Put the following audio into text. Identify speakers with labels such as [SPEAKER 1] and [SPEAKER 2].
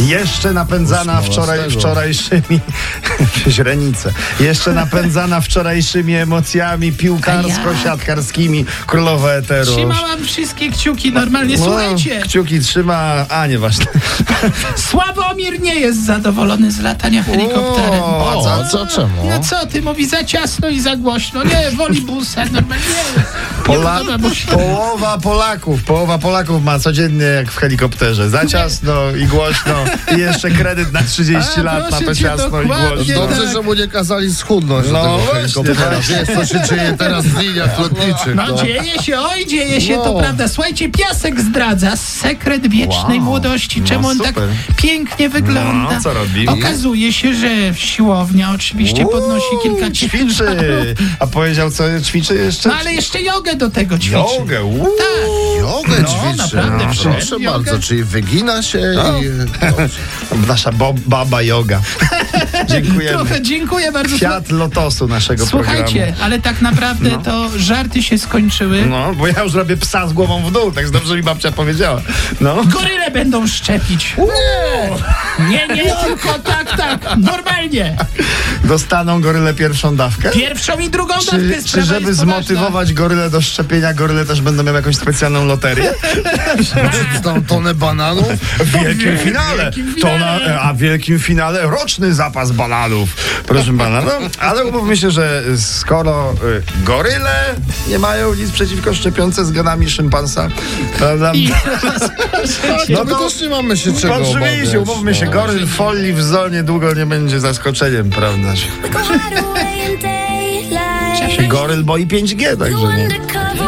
[SPEAKER 1] Jeszcze napędzana wczoraj, wczorajszymi źrenice. Jeszcze napędzana wczorajszymi emocjami piłkarsko-siatkarskimi. Królowa Eteru.
[SPEAKER 2] Trzymałam wszystkie kciuki normalnie.
[SPEAKER 1] No,
[SPEAKER 2] Słuchajcie,
[SPEAKER 1] Kciuki trzyma, a nieważne.
[SPEAKER 2] Sławomir nie jest zadowolony z latania helikopterem.
[SPEAKER 1] O,
[SPEAKER 3] A co, czemu?
[SPEAKER 2] No co ty, mówi za ciasno i za głośno. Nie, woli busa, normalnie.
[SPEAKER 1] Pola...
[SPEAKER 2] podoba mu się.
[SPEAKER 1] Połowa Polaków, połowa Polaków ma codziennie jak w helikopterze. Za ciasno i głośno i jeszcze kredyt na 30
[SPEAKER 2] A,
[SPEAKER 1] lat na to
[SPEAKER 2] proszę cię,
[SPEAKER 1] ciasno i
[SPEAKER 2] dokładnie.
[SPEAKER 1] głośno.
[SPEAKER 3] Dobrze,
[SPEAKER 2] tak.
[SPEAKER 3] że mu nie kazali schudnąć
[SPEAKER 1] No
[SPEAKER 3] do tego
[SPEAKER 1] właśnie,
[SPEAKER 3] helikoptera.
[SPEAKER 1] właśnie.
[SPEAKER 3] Wiesz, co się dzieje teraz w liniach lotniczych.
[SPEAKER 2] No
[SPEAKER 3] no.
[SPEAKER 2] dzieje się, oj dzieje się, to
[SPEAKER 3] Wow.
[SPEAKER 2] prawda. Słuchajcie, piasek zdradza sekret wiecznej
[SPEAKER 1] Wow.
[SPEAKER 2] młodości. Czemu
[SPEAKER 1] No,
[SPEAKER 2] on tak
[SPEAKER 1] super.
[SPEAKER 2] pięknie wygląda?
[SPEAKER 1] No, co robi?
[SPEAKER 2] Okazuje się, że siłownia oczywiście podnosi
[SPEAKER 1] Uuu,
[SPEAKER 2] kilka ciężarów.
[SPEAKER 1] Ćwiczy. A powiedział, co ćwiczy jeszcze?
[SPEAKER 2] No ale jeszcze jogę do tego ćwiczy. Tak,
[SPEAKER 1] Jogę, uuu.
[SPEAKER 3] Jogę
[SPEAKER 2] No,
[SPEAKER 3] ćwiczy.
[SPEAKER 2] naprawdę,
[SPEAKER 3] No,
[SPEAKER 2] wszędzie
[SPEAKER 3] proszę
[SPEAKER 2] jogę.
[SPEAKER 3] bardzo, czyli wygina się i... Dobrze.
[SPEAKER 1] Nasza bo- baba joga. Dziękujemy.
[SPEAKER 2] Tak. Trochę dziękuję bardzo.
[SPEAKER 1] Kwiat lotosu naszego
[SPEAKER 2] Słuchajcie, ale tak naprawdę to żarty się skończyły.
[SPEAKER 1] programu. No, bo ja już robię psa z głową w dół, tak dobrze mi babcia powiedziała. No.
[SPEAKER 2] Goryle będą szczepić. Nie, nie, tylko tak, tak. Normalnie.
[SPEAKER 1] Dostaną gorylę pierwszą dawkę?
[SPEAKER 2] Pierwszą i drugą
[SPEAKER 1] Czy,
[SPEAKER 2] dawkę
[SPEAKER 1] czy
[SPEAKER 2] sprawa
[SPEAKER 1] żeby
[SPEAKER 2] jest poważna.
[SPEAKER 1] zmotywować gorylę do szczepienia, goryle też będą miały jakąś specjalną loterię?
[SPEAKER 2] Tak.
[SPEAKER 3] Tam tonę bananów.
[SPEAKER 1] W wielkim finale!
[SPEAKER 2] wielkim
[SPEAKER 1] To
[SPEAKER 2] finale.
[SPEAKER 1] na, a w wielkim finale roczny zapas bananów. Proszę pana, no, ale umówmy się, że skoro y, goryle nie mają nic przeciwko szczepionce z genami szympansa, prawda?
[SPEAKER 3] No my też nie mamy się czego
[SPEAKER 1] Podrzymijmy
[SPEAKER 3] obawiać.
[SPEAKER 1] się, umówmy się,
[SPEAKER 3] no.
[SPEAKER 1] goryl w folii w zonie długo nie będzie zaskoczeniem, prawda?
[SPEAKER 4] Go hide away in daylight.
[SPEAKER 1] Się goryl boi 5G,
[SPEAKER 4] Go
[SPEAKER 1] także nie.
[SPEAKER 4] undercover